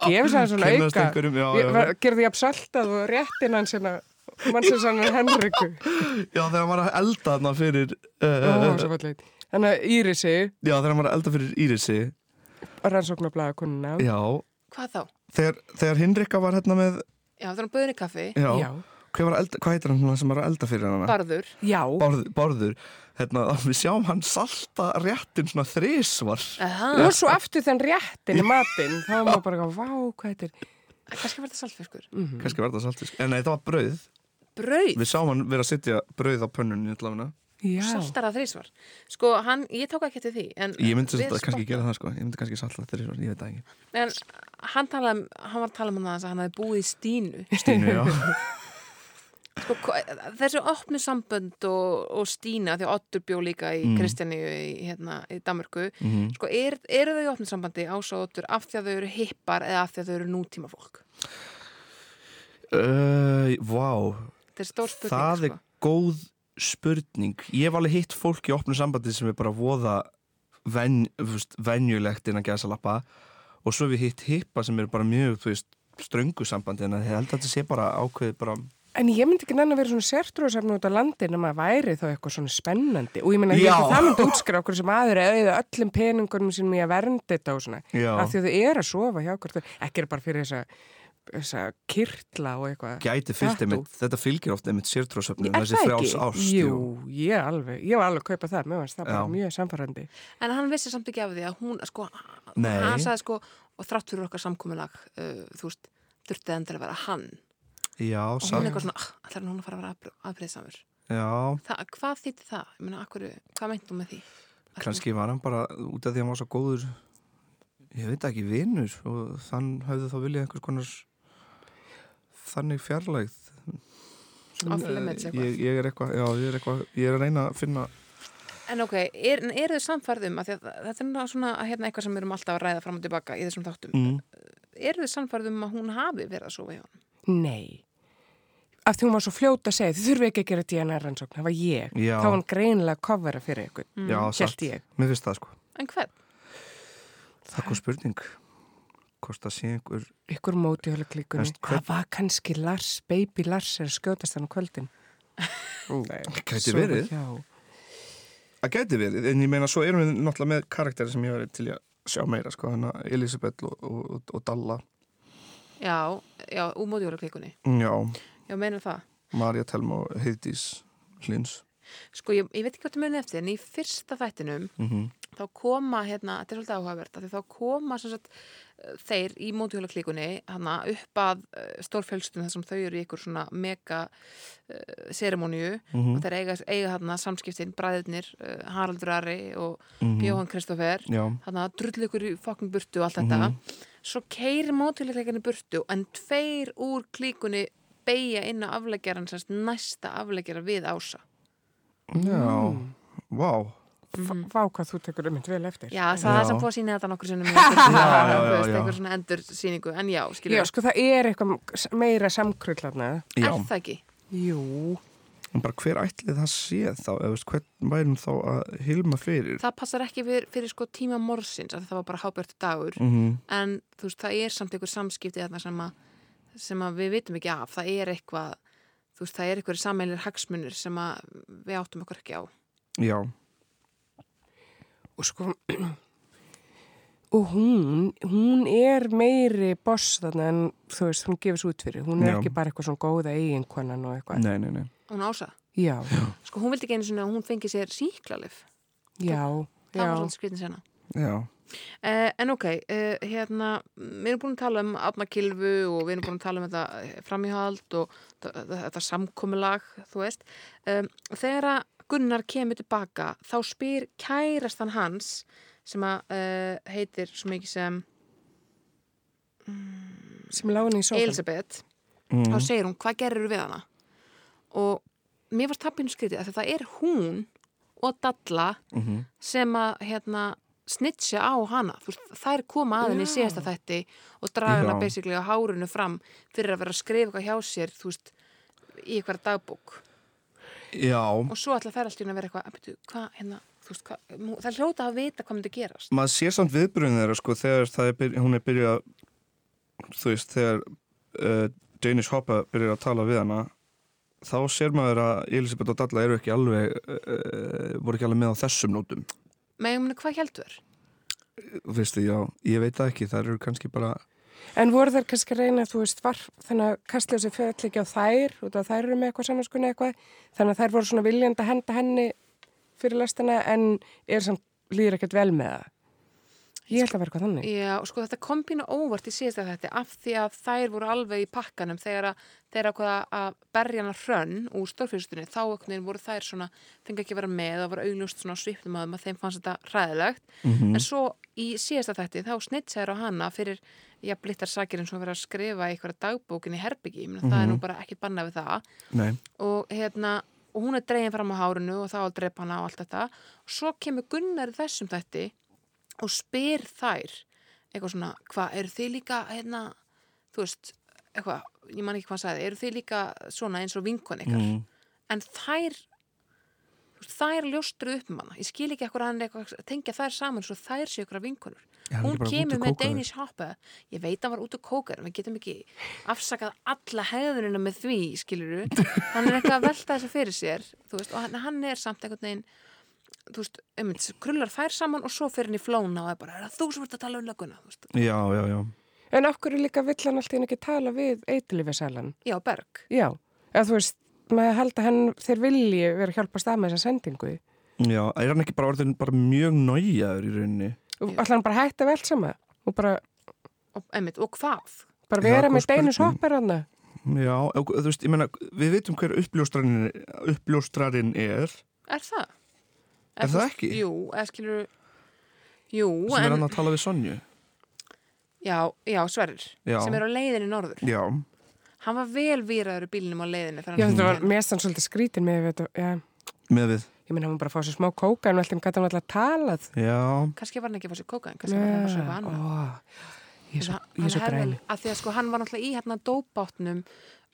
Speaker 5: Gefur það svona
Speaker 4: Kynnast
Speaker 5: auka.
Speaker 4: einhverjum, já, já.
Speaker 5: Gerðu því jafn saltað og réttin hans hérna, mannsins hann er
Speaker 4: (laughs)
Speaker 5: Henriku.
Speaker 4: Já, þegar maður er að elda þarna fyrir,
Speaker 5: Ó,
Speaker 4: uh,
Speaker 5: svo fallegt. Þannig að Írisi,
Speaker 4: já, þegar maður er að elda fyrir Írisi,
Speaker 5: rannsóknarblæðakunna.
Speaker 4: Já,
Speaker 3: Hvað þá?
Speaker 4: þegar, þegar Hinrika var hérna með
Speaker 3: Já, það er hann böðinni kaffi,
Speaker 4: Já,
Speaker 5: Já.
Speaker 4: Hver var að elda, hvað heitir hann svona sem var að elda fyrir hana?
Speaker 3: barður.
Speaker 5: Já.
Speaker 4: Bárður, bárður hérna, (laughs) Við sjáum hann salta réttin svona þrísvar
Speaker 3: Aha,
Speaker 5: Og svo aftur þenn réttin í matinn, þá er maður bara að vá, hvað þetta er.
Speaker 3: kannski var þetta saltfiskur.
Speaker 4: Mhm. Kannski var það saltisk En nei, það var brauð
Speaker 3: Brauð,
Speaker 4: Við sáum hann vera að sitja brauð á pönnunni allavega.
Speaker 5: Já.
Speaker 3: saltar að þrísvar. Sko, hann, ég tók ekki til því. En
Speaker 4: Ég myndi
Speaker 3: við
Speaker 4: svolítið að
Speaker 3: stoppum-
Speaker 4: kannski gera það sko Ég myndi kannski salta þrísvar, ég veit það ekki
Speaker 3: En hann, talaði, um- hann var að tala um hann aðeins að hann hafi búið í stínu.
Speaker 4: Stínu, já
Speaker 3: Sko, ko- þessu opnu sambönd og, og stína, því að Ottur bjó líka í mm. í, hérna, í Danmörku,
Speaker 4: Mhm.
Speaker 3: sko, er, eru þau í opnu sambandi Ása og Ottur af því að þau eru hippar eða af því að þau eru nútíma fólk?
Speaker 4: uh, Vá,
Speaker 3: Þetta er stór spurning,
Speaker 4: það er
Speaker 3: sko.
Speaker 4: góð spurning ég hef alveg hitt fólk í opnu sambandi sem er bara voða ven, þú veist, venjulegt innan gæðsalappa og svo hef ég hitt hippa sem er bara mjög þú veist, ströngu sambandi en ég held að þetta sé bara ákveðið bara
Speaker 5: En ég myndi ekki nenn að vera svona sértrúðsefni út á landin en maður væri þá eitthvað svona spennandi. Og ég meina, ég
Speaker 4: Já.
Speaker 5: held að það myndi útskra okkur sem aður eða öllum peningunum sínum í að vernda þetta og svona.
Speaker 4: Já.
Speaker 5: Af því að þau eru að sofa hjá okkur. Ekki er bara fyrir þessa, þessa kirtla og eitthvað.
Speaker 4: gæti fyllt
Speaker 5: Tattoo.
Speaker 4: einmitt, þetta fylgir ofta einmitt sértrósöfnum,
Speaker 5: Er
Speaker 4: þessi
Speaker 5: það
Speaker 4: frjáls
Speaker 5: ekki?
Speaker 4: ást
Speaker 5: Jú,
Speaker 4: jú.
Speaker 5: ég alveg, ég var alveg að kaupa það, mér finnst það bara
Speaker 4: Já.
Speaker 5: mjög samfærandi.
Speaker 3: En hann vissi samt ekki af því að hún, sko,
Speaker 4: Nei.
Speaker 3: hann sagði, sko, og þrátt fyrir okkar samkominlag, uh, þú veist, þurfti endur að vera hann.
Speaker 4: já,
Speaker 3: Og hún er
Speaker 4: samt
Speaker 3: eitthvað svona, ah, ætlar hún að fara að vera aðbreyðsamur?
Speaker 4: já,
Speaker 3: Hvað þýtti það? Ég meina, akkur, hvað meintum með því? Að
Speaker 4: kannski var hann bara út af því að hann var svo góður ég veit ekki, vinur og þann hafði þá viljað einhvers konar þannig fjarlægð
Speaker 3: þú- off limits eitthvað?
Speaker 4: ég, ég er eitthvað, já, ég er eitthvað ég er að reyna að finna
Speaker 3: En ok, er, en eru þau samfærðum að, að þetta er ná svona hérna, eitthvað sem við erum alltaf að ræða fram og tilbaka í þessum þáttum mm. eru þau samfærðum að hún hafi verið að sofa hjá hann?
Speaker 5: Nei. Af því hún var svo fljóta að segja, þið þurfi ekki að gera DNA rannsókn, það var ég.
Speaker 4: Já.
Speaker 5: Þá var hann greinilega að covera fyrir ykkur.
Speaker 4: já,
Speaker 5: Hélt ég.
Speaker 4: mér finnst það sko,
Speaker 3: En hvern?
Speaker 4: það kom spurning hvort það sé einhver
Speaker 5: Ykkur móti höll klíkunni.
Speaker 4: Veist, hver-
Speaker 5: Það var kannski Lars, baby Lars er að skjótast hann á kvöldin. Nei,
Speaker 4: (laughs) Gæti
Speaker 5: sofa
Speaker 4: verið.
Speaker 5: hjá.
Speaker 4: það gæti verið, en ég meina svo erum við náttúrulega með karakteri sem ég verið til í að sjá meira sko, þannig að Elisabeth og, og, og, og Dalla
Speaker 3: Já, já, úmóðjóra klikunni
Speaker 4: já,
Speaker 3: Já, meina það
Speaker 4: Marja Telma og Heiðdís Hlins
Speaker 3: Sko, ég, ég veit ekki hvað það muni eftir en í fyrsta þættinum þá koma, hérna, þetta er svolítið áhugavert af því þá koma sem sagt, eh, þeir í mótihjóla klíkunni hana, upp að uh, stórfjölstum þar sem þau eru í ykkur svona mega uh, serimóniu og þeir eiga, eiga hana, samskiptin, bræðirnir uh, Haraldur Ari og Jóhann Kristoffer
Speaker 4: já,
Speaker 3: þannig að drullu ykkur í fokkin burtu og allt þetta svo keiri mótilegleikinni burtu en tveir úr klíkunni beigja inn á afleggjaran sérst næsta afleggjara við ása
Speaker 4: já, vá
Speaker 5: Vá- Vá hvað þú tekur um vel eftir.
Speaker 3: Mhm. já, það
Speaker 4: Já.
Speaker 3: er samt búið að sína þetta nokkur sinnum í
Speaker 4: (laughs) já,
Speaker 3: þú veist,
Speaker 4: já.
Speaker 3: einhver svona endur síningu en já, skilur,
Speaker 5: Já, sko það er eitthvað meira samkrull þarna.
Speaker 4: já,
Speaker 3: er það ekki
Speaker 5: Jú.
Speaker 4: en bara hver ætlið það sé þá, eða veist, hvern værum þá að hilma fyrir
Speaker 3: það passar ekki fyrir, fyrir sko tíma morsins að það var bara hábjörtu dagur
Speaker 4: Mhm.
Speaker 3: en þú veist, það er samt einhver samskipti þarna sem að, sem að við vitum ekki af það er eitthvað, þú veist, það er einhver sammeilir hagsmunir sem að við áttum okkur ekki á
Speaker 4: já,
Speaker 5: og sko (clears throat) og hún hún er meiri boss þarna en þú veist, hún gefur svo út fyrir hún er
Speaker 4: Já.
Speaker 5: ekki bara eitthvað svona góða eiginkonan og eitthvað
Speaker 4: nei, nei, nei
Speaker 3: hún ása
Speaker 5: já,
Speaker 3: Sko, hún vildi ekki einu svona að hún fengi sér síklarlif.
Speaker 5: já,
Speaker 3: Það var
Speaker 5: já
Speaker 3: svolítið skritin sena.
Speaker 4: já,
Speaker 3: Uh, en ok, uh, hérna, mm, við erum búin að tala um atmakilfu og við erum búin að tala um þetta eh, framhjáhald og þa- þa- þetta samkomulag, þú veist. Um, þegar að Gunnar kemur tilbaka, þá spyr kærastan hans sem að uh, heitir svo mikið sem
Speaker 5: sem lána í sófann
Speaker 3: Elisabeth, þá segir hún, hvað gerir við hana? Og mér var tappinu skrítið að það er hún og Dalla sem að hérna, snitja á hana. Þú veist, Þær koma að henni í síðasta þætti og draga hana
Speaker 4: Já.
Speaker 3: basically á hárunu fram fyrir að vera að skrifa eitthvað hjá sér, þú veist, í eitthvað dagbók.
Speaker 4: já
Speaker 3: Og svo ætla þær alltaf að vera eitthvað, "Ah, bíddu, hvað, hérna, þú veist, hvað, nú- þær hljóta að vita hvað myndi gerast.
Speaker 4: maður sé samt viðbröðin þeirra sko þegar það er byrj, hún er byrjað að- þú veist, þegar uh, Danish Hoppa byrjar að tala við hana þá sér maður að Elisabeth og Dalla eh, eru ekki alveg uh, voru ekki alveg með á þessum nótum
Speaker 3: Megum, hvað heldur?
Speaker 4: veistu, já, ég veit það ekki, það eru kannski bara
Speaker 5: En voru þær kannski að reyna, þú veist, varf, þannig að kastljósi fjöll ekki á þær, út af þær eru með eitthvað samanskunni eitthvað, þannig að þær voru svona viljandi að henda henni fyrir lestina en er samt líður ekkert vel með það. Ég held að vera eitthvað þannig.
Speaker 3: Já, og sko þetta kom pínu óvart í síðast af þetta af því að þær voru alveg í pakkanum þegar að þeir ákvaða að berja hana hrönn úr stórfyrstunni, þá okkur voru þær svona, fengi ekki að vera með það voru augljóst svona svipnum að þeim fannst þetta ræðilegt, en svo í síðasta þætti þá snitsaður á hana fyrir já, blittar sakir eins og verið að skrifa eitthvað dagbókin í herbyggi, mm það er nú bara ekki banna við það
Speaker 4: Nei,
Speaker 3: og hérna og hún er dregin fram á hárinu og þá að drepa hana og allt þetta og svo kemur Gunnar í þessum þætti og spyr þær eitthvað svona, hvað, eru þið líka hérna, þú veist eitthvað, ég man ekki hvað hann sagði, eru þið líka svona eins og vinkon ykkar
Speaker 4: Mm.
Speaker 3: en þær þú veist, þær ljóstru upp um hana, ég skil ekki eitthvað hann er eitthvað, að tengja þær saman svo þær séu ykkur að vinkonur
Speaker 4: Já, hann er
Speaker 3: hún
Speaker 4: bara út
Speaker 3: kemur
Speaker 4: að
Speaker 3: með
Speaker 4: kóka þær.
Speaker 3: Danish Hoppa ég veit að hann var út að kóka en við getum ekki afsakað alla hegðunina með því, skiluru hann er eitthvað að velta þessu fyrir sér þú veist, og hann, hann er samt einhvern veginn þú veist, um, krullar þær saman og svo fyrir hann í flóna og er bara, er það þú sem ert að tala um löguna Þú veist,
Speaker 4: já, já, já
Speaker 5: En af hverju líka vill hann alltaf ekki tala við eitilífiðsælan?
Speaker 3: já, Berg
Speaker 5: Já, eða þú veist, maður held að hann, þeir vilji vera að hjálpa stað með þessa sendingu.
Speaker 4: Já, er hann ekki bara orðin bara mjög næjaður í rauninni?
Speaker 5: Og alltaf hann bara hætti að veldsama og bara,
Speaker 3: og, einmitt, og hvað?
Speaker 5: bara
Speaker 4: Já,
Speaker 5: vera
Speaker 4: góð
Speaker 5: með deinu
Speaker 4: spurning.
Speaker 5: soppar hann.
Speaker 4: Já, og þú veist, ég meina, við veitum hver uppljóstrarinn, uppljóstrarinn er
Speaker 3: Er það?
Speaker 4: Er
Speaker 3: þú
Speaker 4: það
Speaker 3: veist,
Speaker 4: ekki?
Speaker 3: Jú, eða skiluru Jú,
Speaker 4: sem er
Speaker 3: en
Speaker 4: hann að tala við Sonju
Speaker 3: já, já, Sverrir,
Speaker 4: Já.
Speaker 3: sem er á leiðinni norður
Speaker 4: Já,
Speaker 3: Hann var vel víraður í bílnum á leiðinni þegar
Speaker 5: Já,
Speaker 3: hann
Speaker 5: þetta var
Speaker 3: kom heim.
Speaker 5: mest hann svolítið skrítin með, við þetta, já,
Speaker 4: með við
Speaker 5: ég meina hann var bara að fá sér smá kóka en alltaf hann gæti hann alltaf talað.
Speaker 4: Já,
Speaker 3: Kannski var hann ekki að fá sér kóka Kannski var hann bara að söfa annað
Speaker 5: annað. Ég er svo,
Speaker 3: Hann-
Speaker 5: ég er
Speaker 3: hann
Speaker 5: svo
Speaker 3: hefði-
Speaker 5: græn.
Speaker 3: af því að sko hann var náttúrulega í hérna dópátnum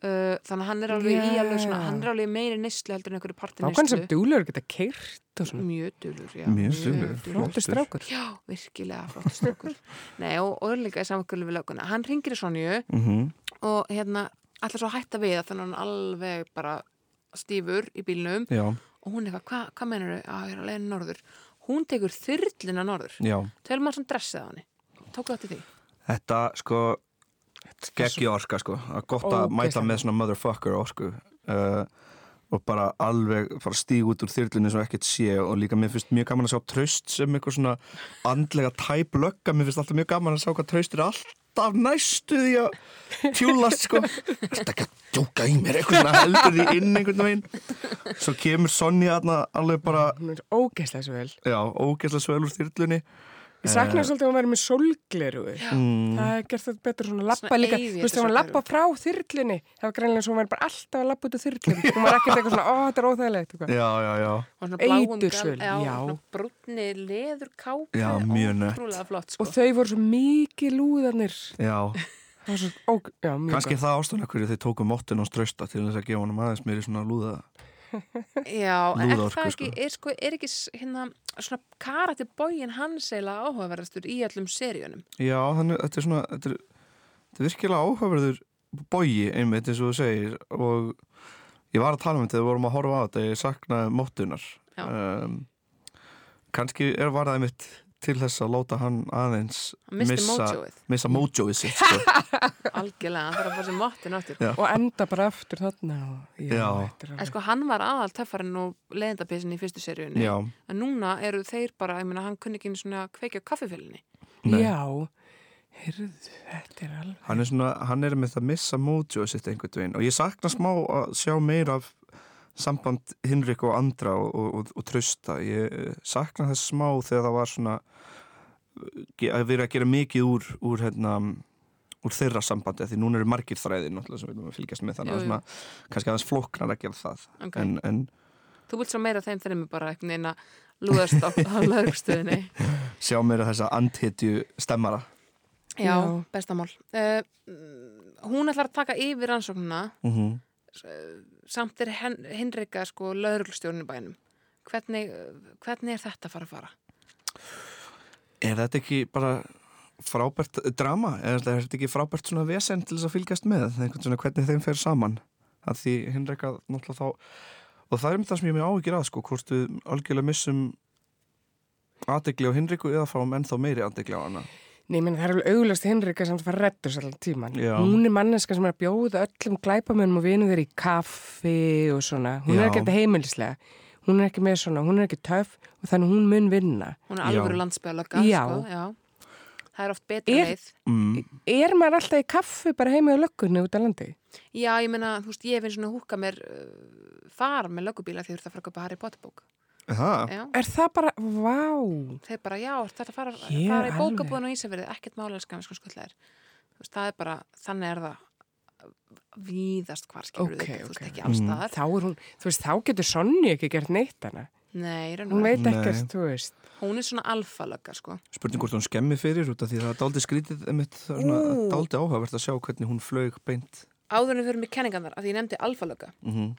Speaker 3: uh, þannig að hann er alveg í
Speaker 5: Já.
Speaker 3: alveg svona, hann er alveg í meiri nýslu heldur en einhverju parti
Speaker 5: Þá kannski sem
Speaker 3: nýslu
Speaker 5: dúlur geta keirt og svona.
Speaker 3: mjög dulur, já
Speaker 4: Mjög duglegur.
Speaker 5: Flóttur strákur.
Speaker 3: Mm, já, virkilega flottur strákur
Speaker 5: (laughs)
Speaker 3: Nei, og, og líka í samankullu við löguna hann ringir í Sonju
Speaker 4: mhm
Speaker 3: og hérna allar svo að hætta við að þannig að hann alveg bara stífur í bílnum
Speaker 4: Já,
Speaker 3: og hún eitthvað, hvað hva menur þau að ég er að leiðin norður hún tekur þyrlina norður
Speaker 4: já
Speaker 3: tölum að hann dressið á henni tók það til því
Speaker 4: Þetta, sko, geggi orka, sko að gott að
Speaker 5: Ógeðslega.
Speaker 4: mæta með svona motherfucker orku uh, og bara alveg fara stíg út úr þyrlunni sem ekkert sé og líka mér finnst mjög gaman að sjá traust sem eitthvað svona andlega tæplögga, mér finnst alltaf mjög gaman að sjá hvað traust er alltaf næstu því að tjúlast sko Þetta ekki að djóka í mér, eitthvað svona heldur því inn einhvern veginn Svo kemur Sonja þarna alveg bara,
Speaker 5: Hún er ógeðslega svo vel.
Speaker 4: já, ógeðslega svöl úr þyrlunni Eh.
Speaker 5: Ég saknaði svolítið að hún væri með solgleru.
Speaker 4: Mm.
Speaker 5: Það er gert þetta betur svona lappa
Speaker 3: Svona
Speaker 5: líka.
Speaker 3: eyði
Speaker 5: Þú
Speaker 3: þetta
Speaker 5: veist, þegar
Speaker 3: sólgleru.
Speaker 5: hún lappa frá þyrlunni, það var greinlega eins og hún væri bara alltaf að lappa út úr þyrlunni. Hún var ekkert eitthvað svona, ó, þetta er óþægilegt. eitthvað.
Speaker 4: Já, já, já
Speaker 3: og svona bláum
Speaker 5: Eitursvöl,
Speaker 3: já,
Speaker 5: já.
Speaker 3: svona brúnni leður kápa
Speaker 4: Já, mjög nett.
Speaker 3: ótrúlega flott sko.
Speaker 5: Og þau voru svo mikið lúðanir.
Speaker 4: Já,
Speaker 5: Það var svo, ó, já, mjög
Speaker 4: kannski
Speaker 5: gott.
Speaker 4: það ástæðan hverju þau tóku móttin hans trösta til þess að gefa honum aðeins meiri svona lúða
Speaker 3: já, en er
Speaker 4: Lúðaorku,
Speaker 3: það ekki,
Speaker 4: sko.
Speaker 3: er, sko, er ekki s- hérna, svona karati bógin hans eila áhugaverðastur í öllum seríunum
Speaker 4: Já, þannig, þetta er svona þetta er, þetta er virkilega áhugaverður bogi einmitt eins og þú segir og ég var að tala um þetta þegar við vorum að horfa á þetta ég saknaði móttunar
Speaker 3: Já.
Speaker 4: um, kannski er varðað einmitt til þess að láta hann aðeins
Speaker 3: Hann missti
Speaker 4: missa,
Speaker 3: mojoið.
Speaker 4: missa mótjóið sitt sko.
Speaker 3: algjörlega, hann þarf að fá sér mottin áttur
Speaker 4: Já.
Speaker 5: Og enda bara aftur þarna. og-
Speaker 4: Já.
Speaker 5: þetta er
Speaker 3: en
Speaker 5: alveg-
Speaker 3: sko hann var aðal töffarinn og leðindapissin í fyrstu seríunni
Speaker 4: Já,
Speaker 3: en núna eru þeir bara, ég meina hann kunni ekki einu svona að kveikja á kaffifélinni
Speaker 4: nei.
Speaker 5: Já, heyrðu, þetta er alveg.
Speaker 4: hann er svona, hann er með það missa mótjóð sitt einhvern veginn og ég sakna smá að sjá meira af samband Hinrik og Andra og, og, og, og Trausta ég eh, sakna þess smá þegar það var svona ge- að vera að gera mikið úr, úr hérna úr þeirra sambandi, af því núna eru margir þræðir náttúrulega sem við erum að fylgjast með
Speaker 3: Jú,
Speaker 4: þannig að
Speaker 3: jú.
Speaker 4: svona, kannski aðeins flóknar að gera það
Speaker 3: Ok.
Speaker 4: en, en
Speaker 3: þú vilt svo meira af þeim þreymur bara einhvern veginn að lúðast á,
Speaker 5: (laughs)
Speaker 3: á lögurstöðinni
Speaker 4: sjá meira þessa andhetju stemmara
Speaker 3: já,
Speaker 5: Já.
Speaker 3: bestamál uh, hún ætlar að taka yfir rannsóknuna
Speaker 4: mm -hmm.
Speaker 3: samt er hen, Hinrika sko lögreglustjórinn í bænum hvernig, hvernig er þetta að fara að fara?
Speaker 4: Er þetta ekki bara frábært drama? Er þetta er þetta ekki frábært svona vesen til þess að fylgjast með? Einhvern svona hvernig þeim fer saman? Að því hinreika náttúrulega þá og það er um það sem ég mér áhyggjur að sko, hvort við algjörlega missum aðdegli á Hinriku eða fáum ennþá meiri aðdegli á hana
Speaker 5: Nei, menn, það er alveg auglast Hinrika sem var reddur sér allan tíman.
Speaker 4: Já.
Speaker 5: Hún er manneska sem er að bjóða öllum glæpamönnum og vinum þeir í kaffi og svona. Hún
Speaker 4: Já.
Speaker 5: er ekki þetta heimilislega. Hún er ekki með svona, hún er ekki töf og þannig hún mun vinna.
Speaker 3: Hún er
Speaker 4: Já.
Speaker 3: alvöru landsbygðalögga,
Speaker 5: Já.
Speaker 3: sko. Já. Það er oft betra
Speaker 5: Er-
Speaker 3: leið.
Speaker 4: mm.
Speaker 5: Er maður alltaf í kaffi bara heimið á löggunni út á landi?
Speaker 3: Já, ég meina, þú veist, ég finn svona húka mér uh, far með löggubíla þegar þú ert að fara að köpa Harry Potter bók.
Speaker 4: Það?
Speaker 3: Já.
Speaker 5: Er það bara, vá,
Speaker 3: Þeir bara, já, ert þetta að fara,
Speaker 5: Ég
Speaker 3: fara í
Speaker 5: alveg.
Speaker 3: bókabúðan og Ísafjörði, ekkert málega skam, sko skullar. Þú veist, það er bara, þannig er það víðast hvar skilur
Speaker 5: Ok,
Speaker 3: þú veist,
Speaker 5: ok. Mm,
Speaker 3: ekki allstaðar.
Speaker 5: þá er hún, þú veist, þá getur Sonja ekki gert neitt hana.
Speaker 3: Nei, í raun og
Speaker 5: Hún
Speaker 3: veru.
Speaker 5: veit
Speaker 4: Nei.
Speaker 5: ekkert, þú veist.
Speaker 3: Hún er svona alfalögga, sko.
Speaker 4: Spurning hvort hún skemmi fyrir út af því það er dálítið skrítið einmitt, það er svona,
Speaker 3: Ú.
Speaker 4: dálítið áhugavert að sjá hvernig hún flög beint
Speaker 3: Áður en við fyrir mig kenningarnar, af því ég nefndi alfalögga.
Speaker 4: mm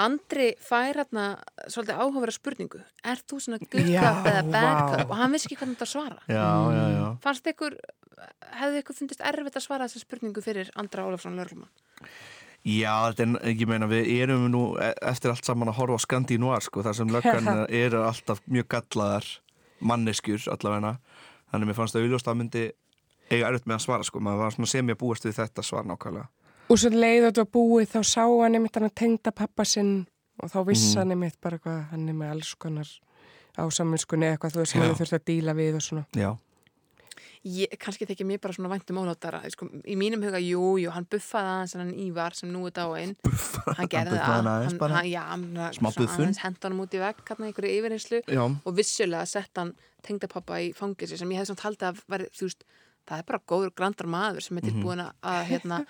Speaker 3: Andri fær hérna svolítið áhugavera spurningu. Er þú svona good
Speaker 5: Já,
Speaker 3: cop eða bad
Speaker 5: vá.
Speaker 3: cop? Og hann vissi ekki hvernig þetta svara.
Speaker 4: Já, já, já
Speaker 3: Fannst ykkur, hefðu ykkur fundist erfitt að svara þessi spurningu fyrir Andra Ólafsson Lörlumann?
Speaker 4: Já, þetta er, ég meina við erum nú e- eftir allt saman að horfa á Skandinúar sko, þar sem löggan eru alltaf mjög gallaðar manneskjur allavegna þannig mér fannst það auðljóst að myndi eiga erut með að svara sko, maður var svona sem ég búast við þetta svar nákvæmlega
Speaker 5: Og svo leið þetta var búið þá sá hann einmitt hann að tengda pappa sinn og þá vissi
Speaker 4: Mhm.
Speaker 5: hann einmitt bara hvað hann er með alls konar á saminskunni eitthvað þú veist sem
Speaker 4: Já.
Speaker 5: hann þurfti að díla við og svona.
Speaker 4: Já,
Speaker 3: Ég, kannski þekki mér bara svona væntum ólátara. Sko, í mínum huga, jú, jú, hann buffaði aðeins hann Ívar sem nú er dáin. Buffaði? Hann gerði
Speaker 4: (laughs) buffaði
Speaker 3: það.
Speaker 4: hann aðeins bara.
Speaker 3: Hann, já, hann
Speaker 4: Smá
Speaker 3: svona
Speaker 4: buffun.
Speaker 3: aðeins henda hann út í vegg, hann einhverju yfirinslu
Speaker 4: já,
Speaker 3: og vissulega sett hann tengdapappa í fangilsi sem ég hef samt haldið að veri, þú veist, það er bara góður grandar maður
Speaker 4: Mhm.
Speaker 3: sem er tilbúin að, að, hérna,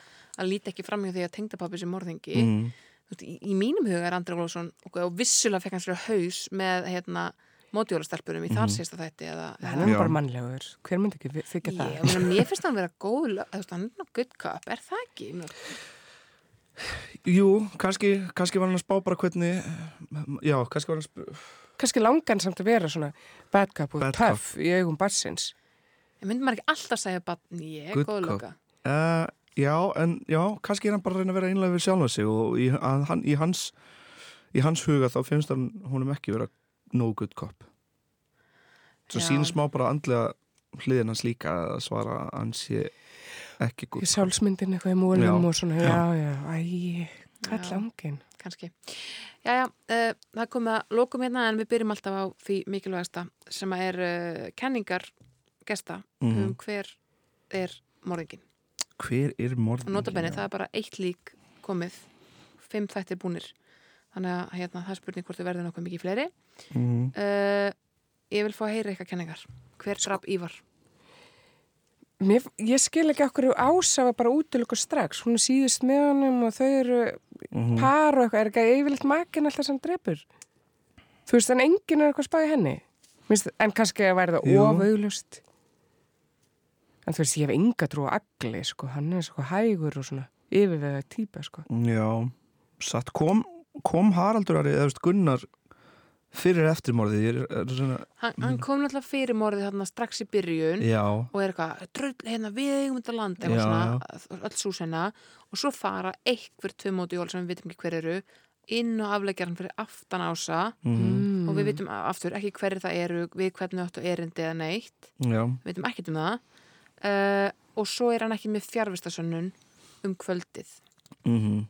Speaker 3: að líta ekki fram hjá því að tengdapappi sem morðingi
Speaker 4: Mhm.
Speaker 3: þú veist, í, í mínum huga er Andri Glóðsson og, og vissulega fekk hann sér haus með hérna, mótjólastelpunum
Speaker 4: Mhm.
Speaker 3: í þar sísta þætti eða,
Speaker 5: Hann er
Speaker 4: Já.
Speaker 5: nú bara mannlegur. Hver myndi ekki vi- þykja
Speaker 3: Ég,
Speaker 5: það?
Speaker 3: ég meina, mér finnst hann vera góð lö- þú veist, hann er náttúrulega good cop, er það ekki? Ég meina,
Speaker 4: Jú, kannski, kannski var hann að spá bara hvernig Já, kannski var hann að spá
Speaker 5: Kanski langan samt að vera svona bad cop og
Speaker 4: Bad
Speaker 5: töff í augum barsins.
Speaker 3: ég myndi maður ekki alltaf segja bara, ég er
Speaker 4: Good
Speaker 3: góð
Speaker 4: cop.
Speaker 3: loka
Speaker 4: uh, Já, en já, kannski er hann bara að reyna að vera einlega við sjálfa sig og í, að, hann, í, hans, í hans huga þá finnst hann honum ekki vera no good cop Svo
Speaker 3: Já.
Speaker 4: sín smá bara andlega hliðin hans líka að svara að hann sé ekki
Speaker 5: Í
Speaker 4: good
Speaker 5: sálsmyndin eitthvað í múlum
Speaker 4: Já.
Speaker 5: og svona, já, já, æ, hvað
Speaker 3: Já.
Speaker 5: langin?
Speaker 3: kannski. Jæja, uh, það komið að lokum hérna en við byrjum alltaf á því mikilvægasta sem að er uh, kenningar gesta
Speaker 4: Mhm.
Speaker 3: um hver er morðingin.
Speaker 4: Hver er
Speaker 3: Og
Speaker 4: morðin?
Speaker 3: notabenni, það er bara eitt lík komið, fimm þættir búnir. Þannig að hérna, það er spurning hvort þau verður nokkuð mikið fleiri.
Speaker 4: Mhm,
Speaker 3: Uh, ég vil fá að heyra eitthvað kenningar. Hver draf Ívar?
Speaker 5: Mér, ég skil ekki okkur ásafa bara útilöku strax. Hún er síðust með honum og þau eru
Speaker 4: mhm.
Speaker 5: par og eitthvað. Er ekki yfirleitt makin alltaf sem drefur? Þú veist, en enginn er eitthvað spáði henni. Minst, en kannski að væri það
Speaker 4: Jú.
Speaker 5: ofauðlust. En þú veist, ég hef enga trú á agli, sko. Hann er sko hægur og svona yfirvega típa, sko.
Speaker 4: Já, satt kom, kom Haraldur Ari eða þú veist, Gunnar fyrir eftirmorðið ég er, er svona,
Speaker 3: Hann, hann kom náttúrulega fyrir morðið þarna strax í byrjun.
Speaker 4: Mhm. já,
Speaker 3: og er eitthvað, dröll hérna við eigum þetta land,
Speaker 4: Já,
Speaker 3: eitthvað svona, öll súsenna og svo fara einhver tvö móti jól sem við vitum ekki hver eru inn og afleggja hann fyrir aftan ása
Speaker 5: Mm.
Speaker 3: og við
Speaker 4: Mhm.
Speaker 3: vitum a- aftur ekki hverju það eru við hvernig áttu erindi eða neitt
Speaker 4: já
Speaker 3: við vitum ekkert um það uh, og svo er hann ekki með fjárvistasönnun um kvöldið
Speaker 4: mm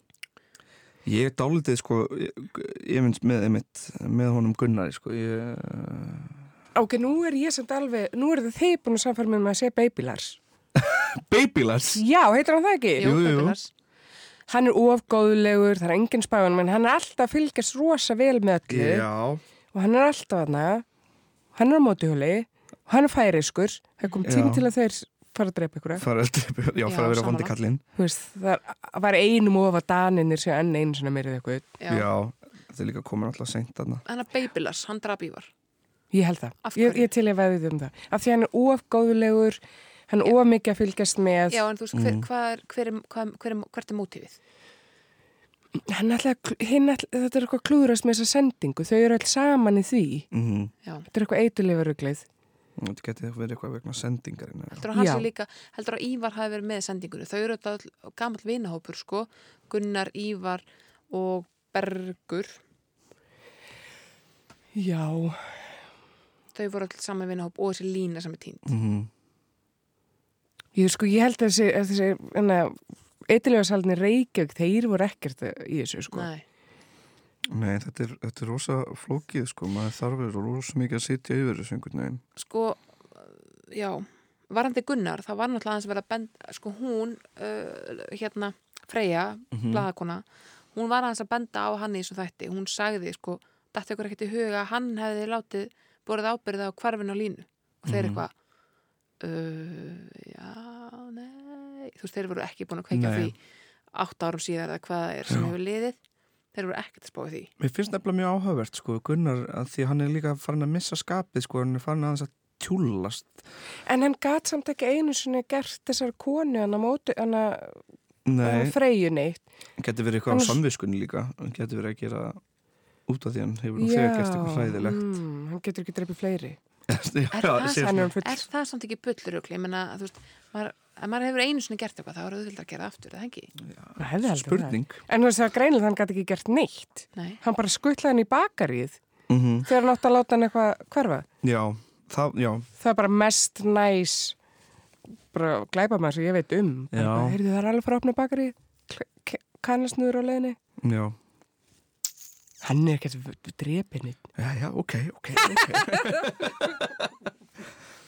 Speaker 4: Ég er dálítið sko ég, ég finnst með, einmitt, með honum Gunnari sko ég,
Speaker 5: Ok, nú er ég samt alveg, nú eru þið búin að samfæra mér með að segja Babylars.
Speaker 4: Babylars
Speaker 5: Já, heitir hann það ekki?
Speaker 3: Jú,
Speaker 4: jú.
Speaker 3: Kaupinars.
Speaker 5: hann er ofgóðulegur, það er engin spæðan menn hann er alltaf að fylgjast rosa vel með öllu
Speaker 4: Já,
Speaker 5: og hann er alltaf aðna hann er á mótihjóli og hann er færiskur, það kom tími
Speaker 4: Já.
Speaker 5: til að þeir fara að drepa ykkur
Speaker 4: fara að- já, fara að vera
Speaker 3: sammála.
Speaker 4: vondi kallinn
Speaker 5: Þú veist, það er- var einum of að daninir sem enn einu svona meirið eitthvað
Speaker 3: Já.
Speaker 4: Já, það er líka komin alltaf seint þarna
Speaker 3: þannig að Babylars, hann draf Ívar
Speaker 5: ég held
Speaker 3: Af
Speaker 5: það, ég,
Speaker 3: hverju?
Speaker 5: ég til ég veðið um það af því hann er ofgóðulegur hann er of mikið að fylgjast með
Speaker 3: já, en þú veist, hver,
Speaker 4: Mhm.
Speaker 3: hvað er, hver er, hvað er, hver er, hvert er mótífið?
Speaker 5: hann ætla, að kl- hinn ætla, þetta er eitthvað klúðrast með þessa sendingu þau eru alls saman í því
Speaker 4: mm -hmm.
Speaker 3: Já.
Speaker 5: þetta er eitthvað eitulifaruglið
Speaker 4: Þetta geti verið eitthvað vegna sendingar
Speaker 3: heldur að hann
Speaker 5: Já.
Speaker 3: sé líka, heldur að Ívar hafi verið með í sendingunni, þau eru þetta gammal vinahópur sko, Gunnar, Ívar og Bergur
Speaker 5: já,
Speaker 3: þau þau voru allir saman vinahóp og þessi lína sem er tínd
Speaker 4: mm
Speaker 5: Ég, sko, ég held að þessi, að þessi eitthilega salinni Reykjavík, þeir voru ekkert í þessu, sko.
Speaker 3: Nei,
Speaker 4: Nei, þetta er, þetta er rosa flókið sko, maður þarf er rosa mikið að sitja yfir þessu einhvern veginn.
Speaker 3: sko eh, já, varandi Gunnar þá var náttúrulega aðeins verið að benda sko hún, uh, hérna Freyja,
Speaker 4: Mhm. Mm.
Speaker 3: blaðakona hún var aðeins að benda á hann í þessu þætti hún sagði sko, dætti ykkur ekkert í huga að hann hefði látið, borið ábyrða á hvarfinu á línu og þeir
Speaker 4: Mhm.
Speaker 3: eitthvað uh, já, nei þú veist, þeir voru ekki búin að kveikja á
Speaker 4: Nei.
Speaker 3: því átt árum síðar eða hvað það er sem
Speaker 4: Já.
Speaker 3: hefur liðið þeir voru ekkert að spáði því
Speaker 4: Mér finnst nefnilega mjög áhugavert sko, Gunnar, að því hann er líka farin að missa skapið sko, hann er farin aðeins að tjúlast.
Speaker 5: En hann gat samt ekki einu sinni gert þessar konu hann að mótu, hann að
Speaker 4: Nei,
Speaker 5: freyju neitt.
Speaker 4: getur verið eitthvað á
Speaker 5: Annars-
Speaker 4: samviskunni líka, hann getur verið að gera út af því hann hefur nú þegar gert eitthvað hræðilegt.
Speaker 5: mm, hann getur ekki dreipið fleiri.
Speaker 4: (laughs) Já,
Speaker 3: Er það samt-
Speaker 4: ég sé
Speaker 5: Hann
Speaker 4: svona-
Speaker 5: er hann
Speaker 3: Er
Speaker 5: full.
Speaker 3: það samt ekki bullurugli? Ég menna, þú veist, maður, ef maður hefur einu sinni gert eitthvað, þá er auðvitað að gera það aftur, er það ekki?
Speaker 5: Það hefði aldrei
Speaker 4: Spurning.
Speaker 5: það. En þú veist, það var greinlega hann gat ekki gert neitt.
Speaker 3: Nei.
Speaker 5: Hann bara skuttlaði hann í bakaríð
Speaker 4: Mm
Speaker 5: þegar hann átti að láta hann eitthvað hverfa.
Speaker 4: Já, það, já,
Speaker 5: Það er bara mest næs, bara glæpa maður sem ég veit um.
Speaker 4: Já.
Speaker 5: Heyrðu það er alveg frá að opna bakaríð, kannasnúður á leiðinni.
Speaker 4: já.
Speaker 5: Hann er ekkert drepinni.
Speaker 4: Já, já, ok, ok, (laughs) ok.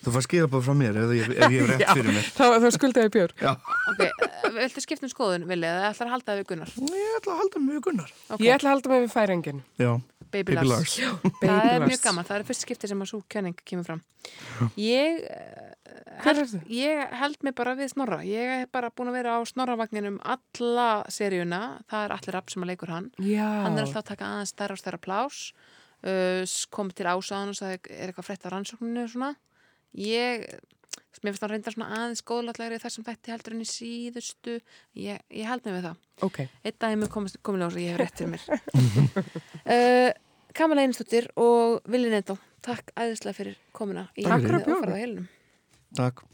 Speaker 4: Þú fær skilja bara frá mér ef, ég- ef ég hef rétt fyrir mér.
Speaker 5: Þá, þá skuldaði ég björg.
Speaker 3: Ok,
Speaker 4: (laughs)
Speaker 3: eh, viltu skipta um skoðun, Vili, eða ætlar að halda það við Gunnar?
Speaker 4: Ég ætla að halda mjög Gunnar.
Speaker 3: Ok,
Speaker 5: Ég ætla að halda mig við færingin.
Speaker 4: Já,
Speaker 3: Baby
Speaker 4: Baby
Speaker 3: Lars.
Speaker 4: Lars.
Speaker 3: Það
Speaker 5: Baby
Speaker 3: er
Speaker 5: Lars.
Speaker 3: mjög gaman, það er fyrst skipti sem að svo kjöning kemur fram. Ég, eh,
Speaker 5: Hver
Speaker 3: held,
Speaker 5: ertu?
Speaker 3: ég held mig bara við Snorra. Ég hef bara búin að vera á Snorravagninum alla seríuna. Það er allir rapp sem að leikur hann.
Speaker 5: Já.
Speaker 3: hann er alltaf að taka aðeins stærra og stærra plás uh, s- kom til ásaðan og sagði er eitthvað frett á rannsókninu og svona ég, mér finnst hann reyndar svona aðeins góðlátlegri þar sem þetta heldur hann í síðustu ég, ég held mig við það
Speaker 5: Ok.
Speaker 3: einn dag mér komið ljósa, ég hef rétt fyrir mér (laughs) uh, Kamala Einstúttir og Vili Neto takk æðislega fyrir komuna í
Speaker 4: Takk fyrir
Speaker 5: að bjóða
Speaker 3: Ófærð á
Speaker 5: mér.
Speaker 3: heilnum
Speaker 4: takk.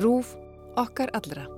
Speaker 1: Rúf okkar allra.